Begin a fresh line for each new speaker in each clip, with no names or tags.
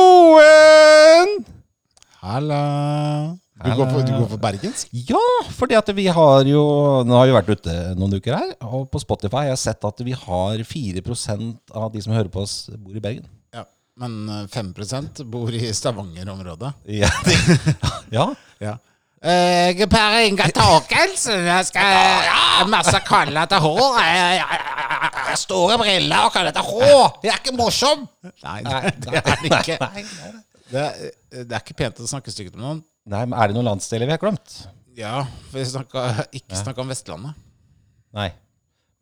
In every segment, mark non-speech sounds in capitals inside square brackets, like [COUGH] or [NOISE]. Halloen!
Halla. Du,
Halla.
Går for, du går for bergensk?
Ja, fordi at vi har jo Nå har vi vært ute noen uker her, og på Spotify har jeg sett at vi har 4 av de som hører på oss, bor i Bergen.
Ja. Men eh, 5 bor i Stavanger-området.
Ja, [LAUGHS] ja.
Ja. Eh, Jeg er Per Inga Torkelsen. Jeg skal ja, masse kaller til hår. Jeg- jeg- jeg- jeg- Store briller og kaller til hår. Jeg er ikke morsom! Nei, det er det ikke.
Nei,
Det er, eh, det er ikke pent å snakke stygt om noen.
Nei, men Er det noen landsdeler vi har glemt?
Ja, for vi snakka ikke snakka om Vestlandet.
Nei.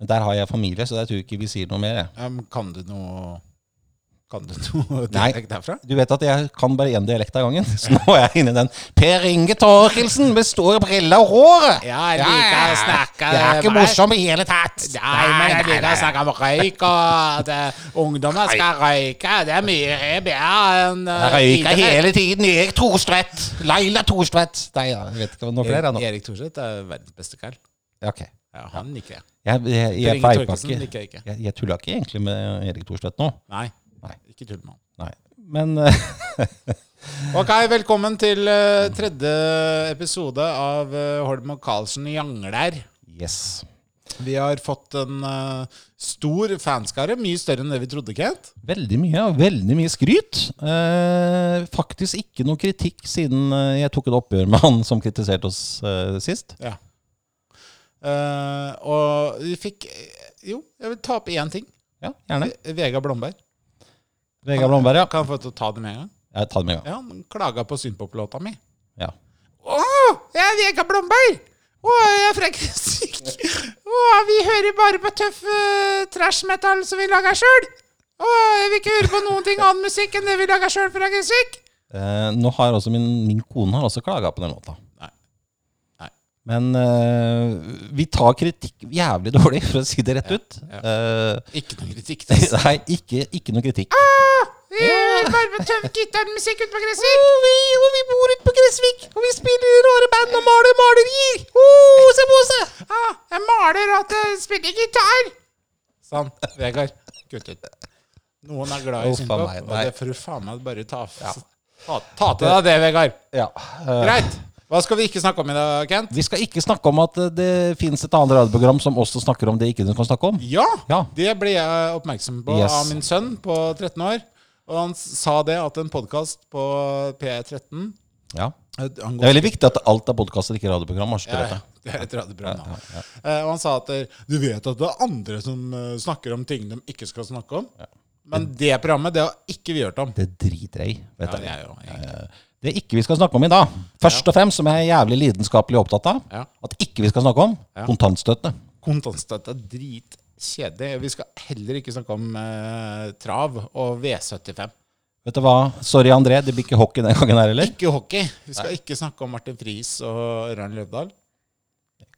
Men der har jeg familie, så jeg tror ikke vi sier noe mer. jeg.
Ja, men kan du noe Kan du noe
Nei.
dialekt derfra?
Du vet at jeg kan bare én dialekt av gangen, [LAUGHS] så nå er jeg inne i den. Per Inge Torkelsen med store briller og håret!
Ja, jeg liker å snakke
Jeg er ikke
bare-
morsom i hele tatt!
Nei, men jeg liker å
nei.
snakke om røyk, og at eh, ungdommer skal røyke. Det er mye bedre enn eh,
Jeg røyker hele tiden. Erik Thorstvedt. Laila Thorstvedt. Nei, jeg vet ikke hva noe flere er nå.
Erik, Erik Thorseth er verdens beste kall.
Ja, ok.
Ja, han liker jeg.
Jeg, jeg,
Per
jeg,
Inge
feipa
Torkelsen
ikke.
liker jeg ikke.
jeg, jeg tulla ikke egentlig med Erik Thorstvedt nå.
Nei,
Nei.
ikke tull med han.
Nei. Men eh,
Ok, velkommen til eh, tredje episode av eh, Holm og Karlsen jangler.
yes.
Vi har fått en eh, stor fanskare, mye større enn det vi trodde, Kent.
Veldig mye. ja. Veldig mye skryt. Eh, faktisk ikke noe kritikk siden eh, jeg tok et oppgjør med han som kritiserte oss eh, sist.
Ja. Eh, og vi fikk eh, Jo, jeg vil ta opp én ting.
Ja, gjerne.
Vegard Blomberg.
Vegard Blomberg, ja.
Kan jeg få til å ta det med en gang?
Jeg tar det med en gang.
Ja, han klaga på synpop-låta mi.
Ja.
Å, jeg er Vegard Blomberg! Å, jeg er fra Kristiansand. Å, vi hører bare på tøff eh, trash metal som vi lager sjøl. Å, jeg vil ikke høre på noen ting annen musikk enn det vi lager sjøl fra Kristiansand.
Eh, nå har også min, min kone har også klaga på den låta.
Nei. Nei.
Men eh, vi tar kritikk jævlig dårlig, for å si det rett ut.
ja.
Eh, [LAUGHS]
Ikke noe kritikk. altså.
nei, ikke, ikke noe kritikk.
Vi hører bare på Ah! Eh, tøff gitarmusikk ute på Kristiansand.
Og vi, og vi bor ute på Gressvik, og vi spiller rare band og maler malerier! Oh, se på oss!
Ah, jeg maler og at jeg spiller gitar. Sånn. Vegard, kutt ut. Noen er glad i
Å, faen
synpop,
meg,
og
nei.
det får du faen meg bare ta, f- ta, ta til deg det, Vegard.
Ja. eh,
Greit. Hva skal vi ikke snakke om i dag, Kent?
vi skal ikke snakke om at eh, det fins et annet radioprogram som også snakker om det ikke du kan snakke om.
Ja,
Ja.
det ble jeg oppmerksom på
Yes.
av min sønn på 13 år. Og han s- sa det at en podkast på P13
Ja.
eh, han
Det er
går-
veldig viktig at alt er podkast og ikke radioprogram. har du
Ja,
skjønt
[LAUGHS] ja,
det?
det er et radioprogram. da. Eh, Og han sa at eh, du vet at det er andre som eh, snakker om ting de ikke skal snakke om. Men det programmet, det har ikke vi hørt om.
Det driter jeg i. vet du.
Ja, det er jo egentlig.
Eh, Det ikke vi skal snakke om i dag, først og fremst, som jeg er jævlig lidenskapelig opptatt av,
Ja.
at ikke vi skal snakke om,
Ja.
kontantstøtte.
Kontantstøtte er dritkjedelig. Vi skal heller ikke snakke om eh, trav og V75.
Vet du hva? Sorry, André, det blir ikke hockey den gangen her heller.
Ikke hockey. Vi skal ikke snakke om Martin Friis og Ørjan Løvdahl.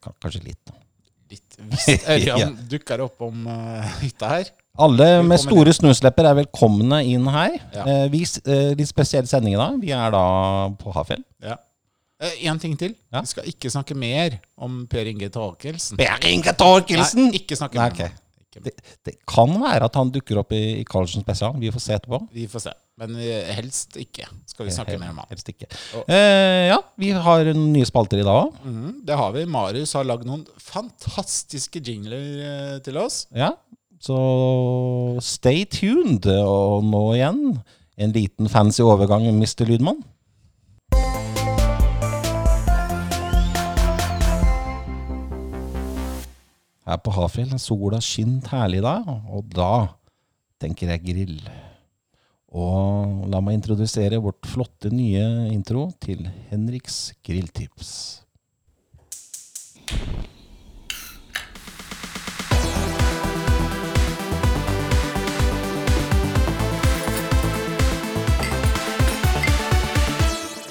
K- Kanskje litt. da.
Litt visst. Ørjan [LAUGHS]
Ja.
dukker opp om eh, hytta her.
Alle
Velkommen
med store snuslepper er velkomne inn her.
Ja.
Eh, vi, s- eh, litt spesiell sending i dag. Vi er da på Hafjell.
Ja. Én ting til.
Ja.
Vi skal ikke snakke mer om Per Inge Torkelsen.
Per Inge
Nei,
Torkelsen!
ikke snakke
Nei,
mer.
ok.
Ikke mer.
Det, det kan være at han dukker opp i, i Carlsen spesial. Vi får se etterpå.
Vi får se. Men vi- helst ikke. Skal vi snakke
Hel-
mer om han.
Helst ikke.
Og-
Eh, ja, vi har noen nye spalter i dag òg.
Mhm, det har vi. Marius har lagd noen fantastiske jingler eh, til oss.
Ja, så stay tuned. Og nå igjen en liten fancy overgang, Mr. Lydmann. Her på Hafjell har sola skint herlig i dag, og da tenker jeg grill. Og la meg introdusere vårt flotte nye intro til Henriks grilltips.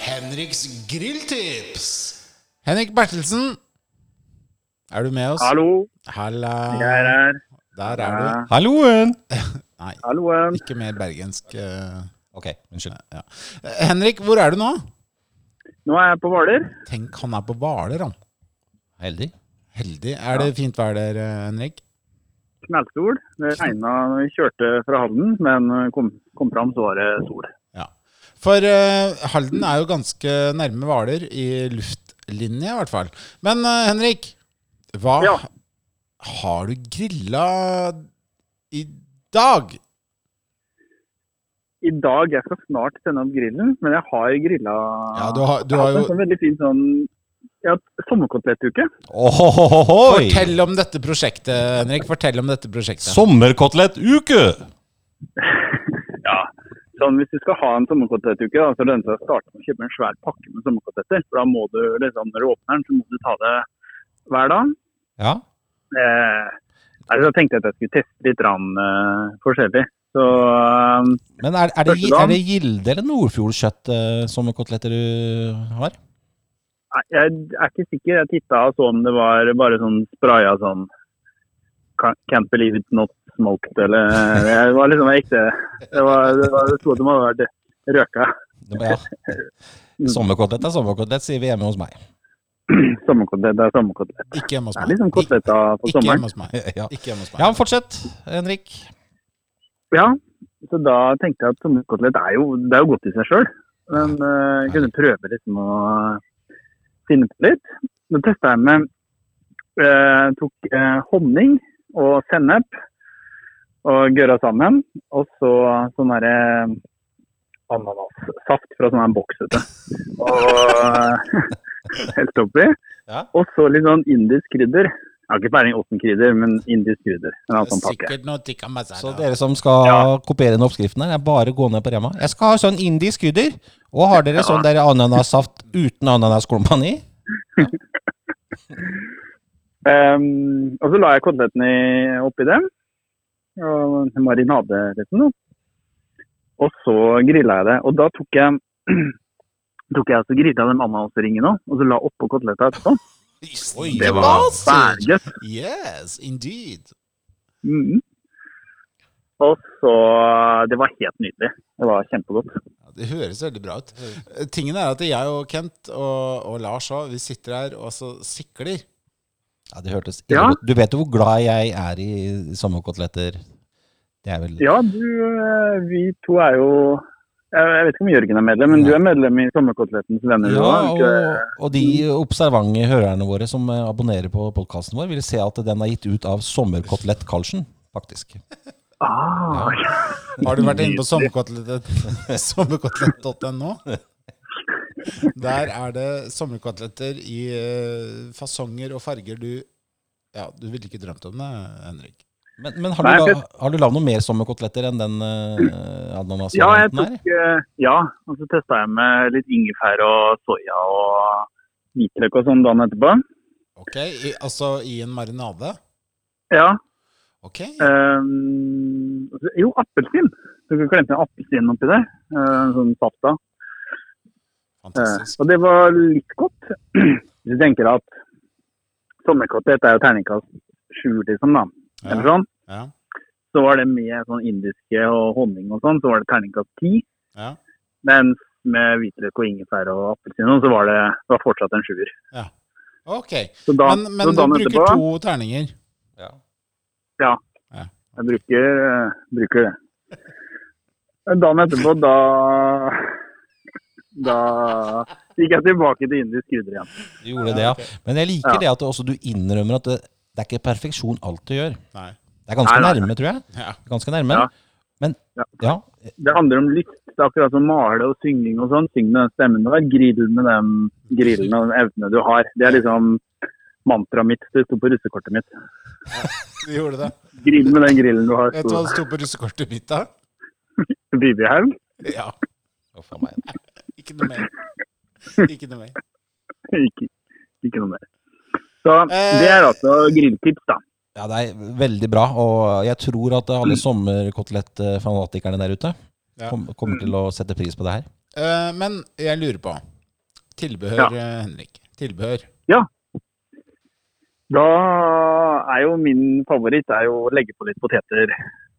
Henriks grilltips! Henrik Bertelsen, er du med oss?
Hallo,
Halla.
jeg er her.
Der er du.
Halloen!
Nei,
Halloen.
ikke mer bergensk. eh,
Ok, unnskyld.
Ja. Eh, Henrik, hvor er du nå?
Nå er jeg på Hvaler.
Tenk, han er på Hvaler, han.
Heldig.
Heldig. Er det fint vær der, eh, Henrik?
Knallsol. Det regna når vi kjørte fra havnen, men eh, kom, kom fram så var det sol.
Ja. For eh, Halden er jo ganske nærme Hvaler, i luftlinje i hvert fall. Men eh, Henrik, hva
Ja.
har du grilla i dag?
I dag jeg skal snart sende opp grillen, men jeg har grilla
Ja, du har, du har
Jeg hatt en
jo
sånn veldig fin sånn jeg har hatt sommerkotelettuke.
Ohohohoi!
Fortell om dette prosjektet, Henrik. Fortell om dette prosjektet.
Sommerkotelettuke!
Ja. Sånn, hvis du skal ha en sommerkotelettuke, da, så lønner det seg å starte med å kjøpe en svær pakke med sommerkoteletter. For da må du liksom, når du åpner den, så må du ta det hver dag.
Ja.
Eh, altså, jeg tenkte jeg at jeg skulle teste litt rann, eh, forskjellig. Så eh,
Men er, er, det, gi-
Første
er
dagen.
det Gilde eller Nordfjordkjøtt eh, sommerkoteletter du har?
Nei, Jeg er ikke sikker. Jeg titta og så om det var bare sånn spraya sånn "Ca- Can't believe it's not smoked, eller Det var liksom ekte Det var, det var det sto at de hadde vært røka. [CLEARS THROAT]
Det var-
[LAUGHS]
Ja.
Mm.
Sommerkotelett er sommerkotelett, sier vi hjemme hos meg.
Sommerkotelett det er sommerkotelett.
Ikke hjemme hos
Det
meg.
er liksom
Ik-
koteletta på
Ikke
sommeren.
hjemme hos meg.
Ja,
Ikke hjemme hos meg.
ja men fortsett, Henrik.
Ja, så da tenkte jeg at sommerkotelett er jo, det er jo godt i seg sjøl. Men eh, jeg kunne prøve liksom å finne på litt. Nå testa jeg med eh, Tok eh, honning og sennep og gørra sammen. Og så sånn derre ananassaft fra sånn her boks, vet du. Og [LAUGHS] helt oppi.
Ja.
Og så litt sånn indisk krydder. Jeg har ikke peiling åssen krydder, men indisk krydder. En annen sånn pakke.
Sikkert noe tikka masala.
Så dere som skal
Ja.
kopiere den oppskriften her, er bare å gå ned på Rema. Jeg skal ha sånn indisk krydder. Og har dere sånn der ananassaft uten ananasklumpene i?
Ehm, og så la jeg kotelettene i- oppi dem. Og marinade, liksom. Da. Og så grilla jeg det. Og da tok jeg [CLEARS THROAT] tok jeg altså grilla de ananasringene òg, og så la oppå
[LAUGHS]
kotelettene etterpå.
Oi,
Det var
basert.
ferdig.
Yes, indeed.
Mhm. Og så Det var helt nydelig. Det var kjempegodt.
Ja, det høres veldig bra ut. Eh, Tingen er at jeg og Kent og, og Lars òg, vi sitter her og så sikler.
Ja, det hørtes
Ja.
ille ut. Du vet jo hvor glad jeg er i sommerkoteletter. Det er vel
Ja, du, eh, vi to er jo Jeg jeg vet ikke om Jørgen er medlem, men
Nei.
du er medlem i Sommerkotelettens venner? du
Ja,
også, er du ikke det?
og, og de observante hørerne våre som eh, abonnerer på podkasten vår, vil se at den er gitt ut av Sommerkotelett Karlsen, faktisk.
ah,
Har du vært inne på [LAUGHS] sommerkoteletter- sommerkotelett.no? Der er det sommerkoteletter i eh, fasonger og farger du Ja, du ville ikke drømt om det, Henrik.
Men, men har,
Nei,
du
jeg
la, har du lagd noe mer sommerkoteletter enn den uh,
Ja, jeg
ananasvarianten her?
tok, eh, ja, og så testa jeg med litt ingefær og soya og hvitløk og sånn dagen etterpå.
Ok, I, Altså i en marinade?
Ja.
Ok.
Eh, ehm, og så- jo, appelsin. Du kan klemme en appelsin oppi der. eh, Sånn saft av. Eh,
Fantastisk.
Og det var litt godt. [CLEARS THROAT] Hvis du tenker at sommerkotelett er jo terningkast sju, liksom, da. Eller
Ja,
sånn.
ja,
Så var det med sånn indiske og honning og sånn, så var det terningkast ti.
ja.
Mens med hvitløk og ingefær og appelsin og sånn, så var det, det var fortsatt en sjuer.
Ok.
Så da,
Men,
så
men du
dagen
bruker
etterpå-
to terninger.
Ja.
Jeg bruker, eh, bruker det. Dagen etterpå, da Da gikk jeg tilbake til indisk krydder igjen.
Du gjorde
Ja,
det, ja.
ok.
Men jeg liker
Ja.
det at du, også, du innrømmer at det, det er ikke perfeksjon alt du gjør.
Nei.
Det er ganske
Nei, nei.
nærme, tror jeg.
Ja.
Ganske nærme.
Ja.
Men
Ja.
ja,
Det handler om lyst. Det er akkurat som male og synging og sånn. Syng med den stemmen du har. Grill med den grillen og den evnen du har. Det er liksom mantraet mitt. Det sto på russekortet mitt.
Du gjorde det.
Grill med den grillen du har.
Vet du hva det sto på russekortet mitt, da? [LAUGHS]
sto Bibihaug.
Ja.
Å, faen meg.
Ikke noe mer. Ikke noe mer.
[LAUGHS] Ikke, ikke noe mer. Så
Eh,
det er altså grilltips, da.
ja, det er veldig bra. Og jeg tror at alle sommerkotelettfanatikerne der ute
Ja.
kom, kommer til å sette pris på det her.
Eh, men jeg lurer på Tilbehør, eh, Henrik. Tilbehør.
Da er jo min favoritt er jo å legge på litt poteter.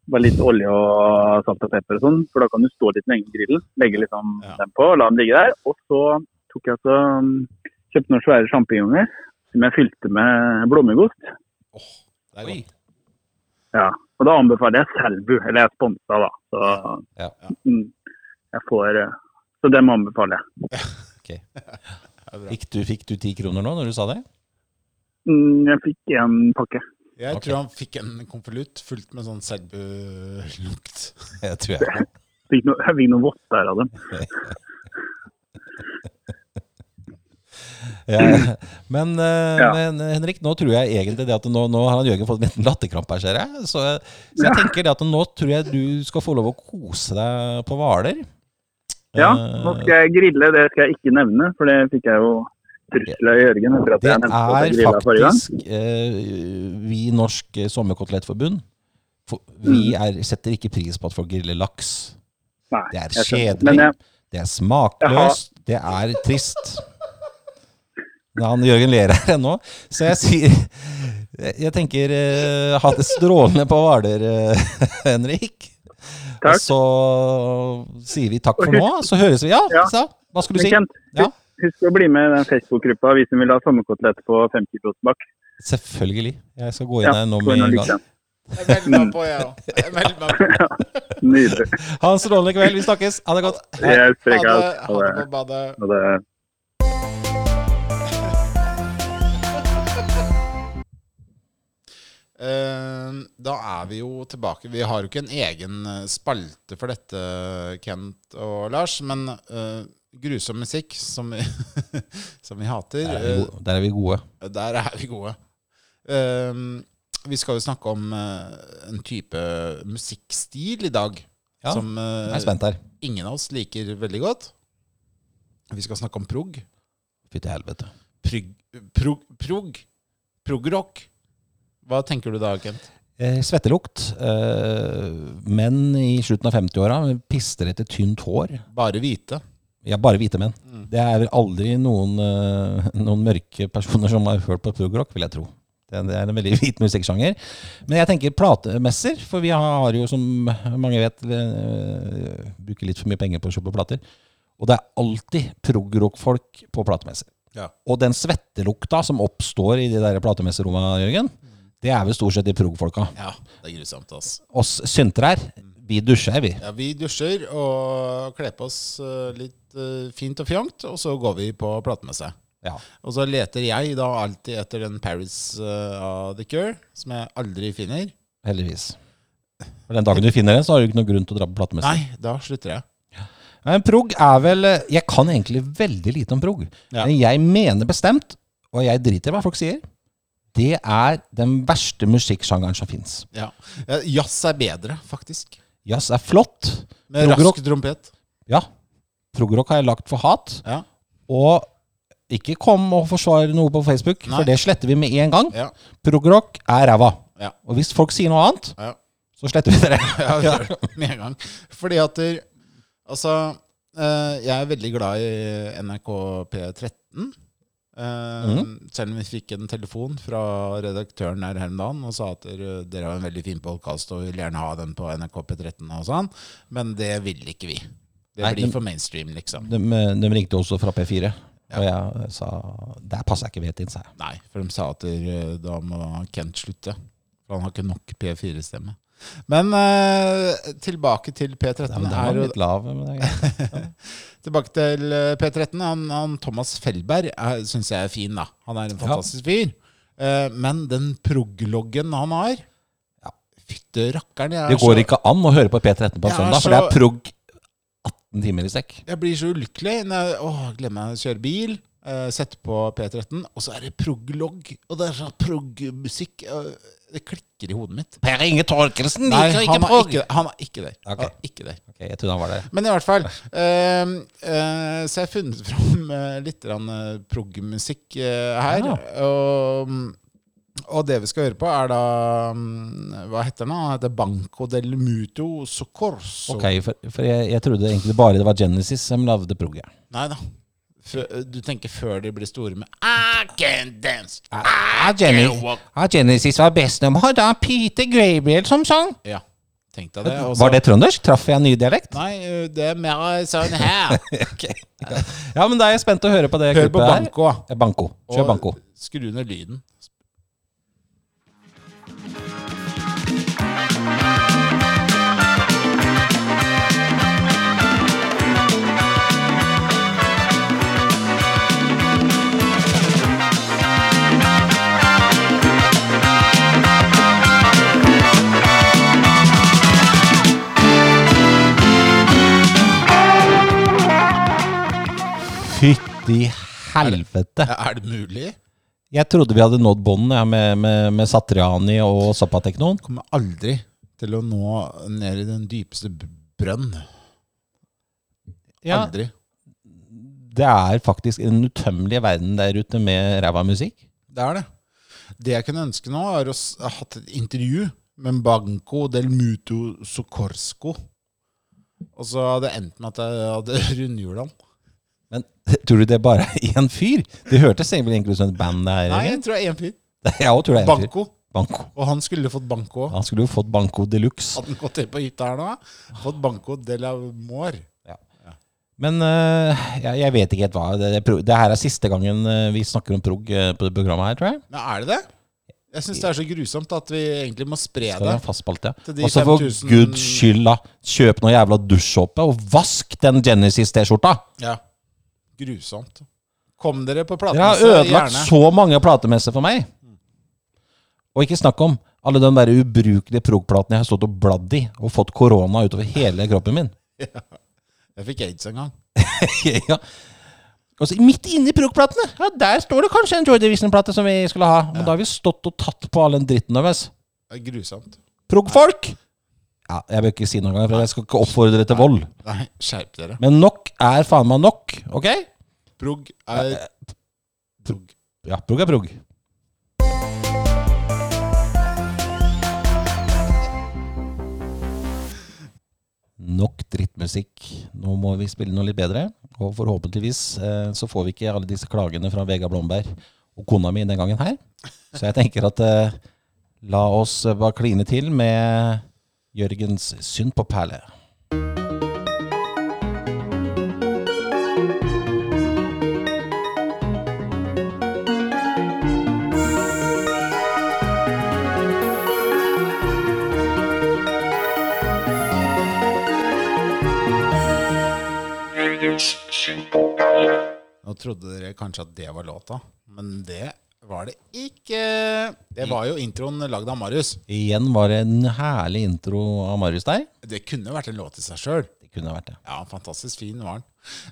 Bare litt olje og salt og pepper og sånn, for da kan du stå litt lenge i grillen. Legge liksom
Ja.
den på, la den ligge der. Og så tok jeg så um, kjøpte noen svære sjampinjonger som jeg fylte med blåmuggost.
Det er
Oi.
godt.
Og da anbefaler jeg Selbu, eller jeg er sponsa, da. Så,
Ja.
mm, jeg får, eh, så dem anbefaler jeg.
Fikk, du, fikk du ti kroner nå når du sa det?
Mm, jeg fikk én pakke.
Jeg
Ok.
tror han fikk en konvolutt fullt med sånn selbu-lukt.
Jeg tror jeg.
Fikk noe, jeg fikk noen votter av dem.
Ja. Men, eh,
Ja.
men Henrik, nå tror jeg egentlig det at nå, nå har han Jørgen fått en liten latterkrampe her, ser jeg. Så, så jeg tenker det at nå tror jeg du skal få lov å kose deg på Hvaler.
Ja,
Eh,
nå skal jeg grille, det skal jeg ikke nevne, for det fikk jeg jo trussel av Jørgen etter
Det
at jeg nevnte at jeg
er
grilla forrige gang.
faktisk eh, Vi i Norsk Sommerkotelettforbund for, Vi er, setter ikke pris på at folk griller laks.
Nei,
Det er
jeg skjønner.
kjedelig.
Men eh, jeg,
Det er smakløst. Det er trist. Ja, Han Jørgen ler her ennå, så jeg sier Jeg tenker eh, ha det strålende på Hvaler, eh, Henrik. Og
Takk.
så sier vi takk for nå, så høres vi. Ja,
Ja.
sa Hva skulle
men
du si?
Kent,
Ja.
husk å bli med i den Facebook-gruppa hvis du vil ha sommerkotelett på 50 bak.
Selvfølgelig. Jeg skal gå inn
Ja,
her nå
gå
med
inn og
en
lik
gang.
den.
Jeg melder meg på, jeg òg. Jeg melder meg på.
[LAUGHS]
Nydelig.
Ha en strålende kveld. Vi snakkes. Ha det godt.
Jeg er
Ha det,
streka
ha det på
ut.
badet.
Ha det.
Eh, Da er vi jo tilbake. Vi har jo ikke en egen eh, spalte for dette, Kent og Lars, men eh, grusom musikk, som vi, [LAUGHS] som vi hater,
Der er vi gode. Der er vi gode.
eh, der er vi gode. Eh, vi skal jo snakke om eh, en type musikkstil i dag
Ja,
som eh,
Jeg er spent her.
ingen av oss liker veldig godt. Vi skal snakke om prog.
Fy til helvete.
Prog, prog, prog, prog-rock. Hva tenker du da, Kent?
Eh, Svettelukt. Eh, menn i slutten av 50-åra med pister etter tynt hår.
Bare hvite.
Ja, bare hvite menn.
Mm.
Det er vel aldri noen, eh, [LAUGHS] noen mørke personer som har hørt på progrock, vil jeg tro. Det det er en veldig [LAUGHS] hvit musikksjanger. Men jeg tenker platemesser, for vi har jo, som mange vet, eh, bruker litt for mye penger på å kjøpe plater. Og det er alltid progrock-folk på platemesser.
Ja.
Og den svettelukta som oppstår i de der platemesseromma, Jørgen, det er vel stort sett de prog-folka.
Ja, det er grusomt, ass.
Oss syntere her, vi dusjer, vi.
Ja, vi dusjer og kler på oss eh, litt eh, fint og fjongt, og så går vi på platemesse.
Ja.
Og så leter jeg da alltid etter den Paris eh, av The Cure, som jeg aldri finner.
Heldigvis. For den dagen du finner den, så har du ikke noen grunn til å dra på platemesse.
Nei, da slutter jeg.
Men prog er vel eh, Jeg kan egentlig veldig lite om prog.
Ja.
Men jeg mener bestemt, og jeg driter i hva folk sier, det er den verste musikksjangeren som fins.
Ja. Eh, Jazz er bedre, faktisk.
Jazz er flott.
Med
Prog-rock.
rask trompet.
Ja. Progrock har jeg lagt for hat.
Ja.
Og ikke kom og forsvar noe på Facebook,
Nei.
for det sletter vi med en gang.
Ja.
Progrock er ræva.
Ja.
Og hvis folk sier noe annet,
Ja.
så sletter vi det.
Ja, vi gjør det med en gang. Fordi at der, Altså, eh, jeg er veldig glad i NRK P13. Eh,
Mhm.
Selv om vi fikk en telefon fra redaktøren her her om dagen og sa at dere, dere har en veldig fin podkast og vil gjerne ha den på NRK P13, og sånn, men det vil ikke vi. Det
Nei,
blir
men-
for mainstream, liksom.
De, eh, de ringte også fra P4, og jeg eh, sa Der passer jeg ikke vet inn, sa jeg.
Nei, for de sa at eh, da må Kent slutte. For han har ikke nok P4-stemme. Men eh, tilbake til P13.
Ja, men den
er
var
jo-
litt lav. Men det er greit.
Tilbake til eh, P13. Han, han Thomas Fellberg syns jeg er fin, da. Han er en fantastisk fyr. Eh, men den prog-loggen han har
Ja.
Fytte rakkeren. Jeg, er
Det går
så-
ikke an å høre på P13 på en
Jeg er
søndag, for det
så-
er prog 18 timer i strekk.
jeg blir så ulykkelig. Når jeg, åh, glemmer jeg å kjøre bil. Uh, Sette på P13, og så er det prog-logg. Og det er sånn prog-musikk. eh, det klikker i hodet mitt.
Per Inge Torkelsen
Nei, han er ikke, han er ikke der.
Ok.
Han er ikke der.
Ok, jeg trodde han var der.
Men i hvert fall. eh, eh, så jeg har funnet fram eh, litt grann, eh, prog-musikk eh, her. Og, og det vi skal høre på, er da mm, Hva heter den? da? Han heter Banco del Muto Socorso.
Ok, For, for jeg, jeg trodde egentlig bare det var Genesis som lagde prog. ja.
Nei da. fø- Du tenker før de blir store med I can dance!
Ah, Genesis, ah, Genesis var bestnummer, da Peter Gabriel som sang.
Ja, tenk deg det. og så-
Var det trøndersk? Traff jeg en ny dialekt?
Nei, ø, det er mer
[LAUGHS]
sånn her.
Ja, men da er jeg spent å høre på det
Hør på
klippet her.
Banco. da.
Eh, Banko. Kjør banko.
Og skru ned lyden.
Fytti helvete.
Er det mulig?
Jeg trodde vi hadde nådd bånden ja, med, med, med Satriani og Zapateknoen.
Kommer aldri til å nå ned i den dypeste b- brønn.
Ja,
Aldri.
det er faktisk en utømmelig verden der ute med ræva musikk.
Det er det. Det jeg kunne ønske nå, er å s- ha hatt et intervju med Banco del Muto Socorsko. Og så hadde det endt med at jeg hadde [LAUGHS] rundhjula han.
Men [LAUGHS] tror du det bare er én fyr? Det hørtes egentlig egentlig ut som et band det her.
Nei,
eller? [LAUGHS]
jeg tror det er én fyr.
Jeg også tror det er en fyr.
Banco.
Banko.
Og han skulle fått Banco òg.
Han skulle jo fått Banko de luxe.
Hadde han gått inn på hytta her nå, fått Banco de la Mor.
Men øh, jeg, jeg vet ikke helt hva det, det, pro- det her er siste gangen øh, vi snakker om prog øh, på det programmet her, tror jeg.
Men er det det? Jeg syns det er så grusomt at vi egentlig må spre
Skal
det.
ha en fast spalte,
Til
ja.
de
Og så for
5000
guds skyld, da. Kjøp noe jævla dusjsåpe og vask den Genesis-T-skjorta!
Ja. Grusomt. Kom dere på platen,
Dere har ødelagt så mange platemesser for meg. Og ikke snakk om alle de der ubrukelige prog-platene jeg har stått og bladd i og fått korona utover hele kroppen min. [LAUGHS]
Jeg fikk aids en gang.
ja. Og så midt inni prog-platene, ja, der står det kanskje en Joy Division-plate som vi skulle ha. Men da har vi stått og tatt på all den dritten deres.
Det er grusomt.
Prog-folk! Ja, jeg bør ikke si noe, for jeg skal ikke oppfordre til vold.
Nei, skjerp dere.
Men nok er faen meg nok, ok?
Prog er
Eh,
Prog.
Ja, prog er prog. Nok drittmusikk. Nå må vi spille noe litt bedre. Og forhåpentligvis eh, så får vi ikke alle disse klagene fra Vega Blomberg og kona mi den gangen her. Så jeg tenker at eh, la oss eh, bare kline til med Jørgens synd på perle.
Nå trodde dere kanskje at det var låta, men det var det ikke. Det var jo introen lagd av Marius.
Igjen var det en herlig intro av Marius der.
Det kunne vært en låt i seg sjøl.
Det kunne vært det.
Ja, fantastisk fin var den.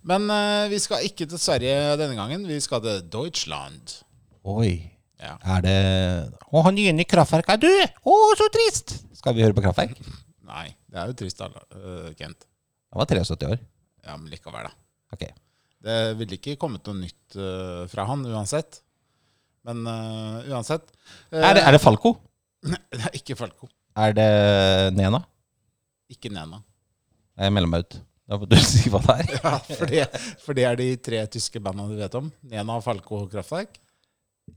Men eh, vi skal ikke til Sverige denne gangen. Vi skal til Deutschland.
Oi.
Ja.
Er det Å, han ene i kraftverket er død! Å, så trist! Skal vi høre på kraftverk?
Nei, det er jo trist, da, eh, Kent.
Han var 73 år.
Ja, men likevel, da.
Ok.
Det ville ikke kommet noe nytt eh, fra han uansett. Men eh, uansett eh,
Er det, er det Falco?
[LAUGHS] det er ikke Falco.
Er det Nena?
Ikke Nena. [LAUGHS]
Nei, Jeg melder meg ut. Da får du [LAUGHS] si hva det er.
Ja, for, det, for det er de tre tyske bandene du vet om. Nena, Falco og Kraftwerk.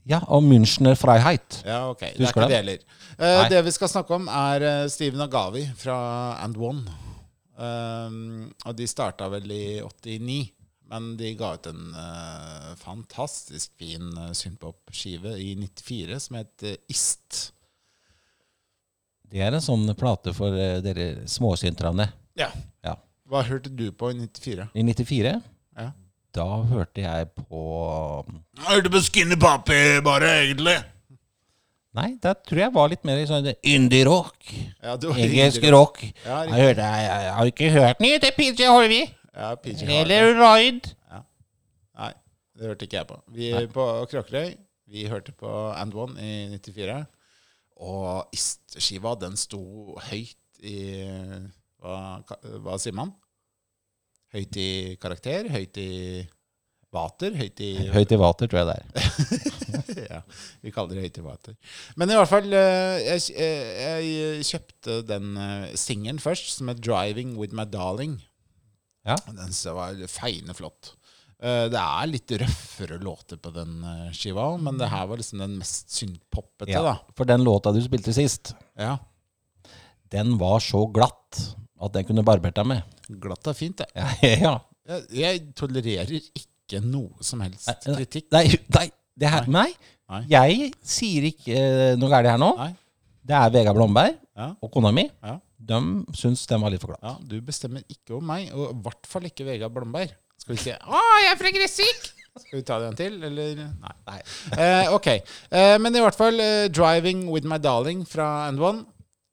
Ja, og Münchner Freiheit.
Ja, ok. Det er
Husker
ikke det heller. Eh,
Nei.
det vi skal snakke om, er eh, Steven Agavi fra And One. Um, og de starta vel i 89, men de ga ut en eh, fantastisk fin uh, synpop-skive i 94 som het eh, Ist.
Det er en sånn plate for eh, dere småsynterne.
Ja.
Ja.
Hva hørte du på i 94?
I 94,
Ja.
da hørte jeg på um,
Jeg hørte på Skinny Papi bare, egentlig.
Nei, da tror jeg var litt mer i sånn indie-rock.
Ja, du var
Engelsk
riktig.
rock.
Ja,
Jeg,
riktig.
hørte, jeg, jeg, jeg har ikke hørt mye til PJ Horvey.
Ja, PJ Harvey.
Eller Ride.
Nei, det hørte ikke jeg på. Vi på Kråkerøy, vi hørte på And One i 94. Og Ist-skiva, den sto høyt i hva, ka- hva sier man? Høyt i karakter, høyt i vater, høyt i
Høyt i vater, tror jeg det er.
[LAUGHS] ja, vi kaller det høytivater. Men i hvert fall, eh, jeg, eh, jeg kjøpte den eh, singelen først, som het 'Driving With My Darling'.
Ja.
Den synes jeg var feiende flott. Eh, Eh, Det er litt røffere låter på den eh, skiva, men det her var liksom den mest syndpoppete,
Ja, for den låta du spilte sist,
da. Ja.
den var så glatt at den kunne barbert deg med.
Glatt er fint, det.
Ja, [LAUGHS] ja.
Jeg, jeg tolererer ikke noe som helst
Nei,
kritikk.
Nei, nei, det her, nei.
Nei.
jeg sier ikke eh, noe galt her nå.
Nei.
Det er Vegard Blomberg
Ja.
og kona mi.
Ja.
De syns den var litt for glatt.
Ja, du bestemmer ikke om meg, og i hvert fall ikke Vegard Blomberg. Skal vi se
Å, jeg er fra Gressvik!
[LAUGHS] Skal vi ta den til, eller Nei. Eh, ok. Eh, men i hvert fall eh, 'Driving With My Darling' fra And One.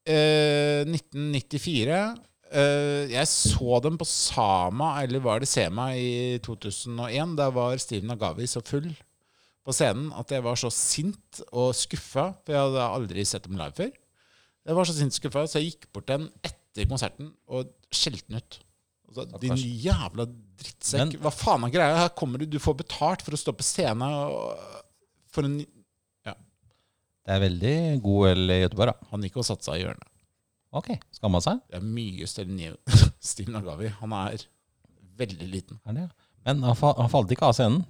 Eh, 1994. Eh, jeg så dem på Sama, eller var det Sema, i 2001. Da var Steven Nagavi så full på scenen at jeg var så sint og skuffa, for jeg hadde aldri sett dem live før. Jeg var så sint og skuffa, så jeg gikk bort til den etter konserten og skjelte den ut. Og sa, Din jævla drittsekk.
Men-
Hva faen er greia? Her kommer du, du får betalt for å stå på scenen og for en
Det er veldig god øl i Göteborg, da.
Han gikk og satte seg i hjørnet.
Ok, skamma seg.
Det er mye større enn [LAUGHS] Steven Nagavi. Han er veldig liten.
Er det, ja. Men han, fa han falt ikke av scenen.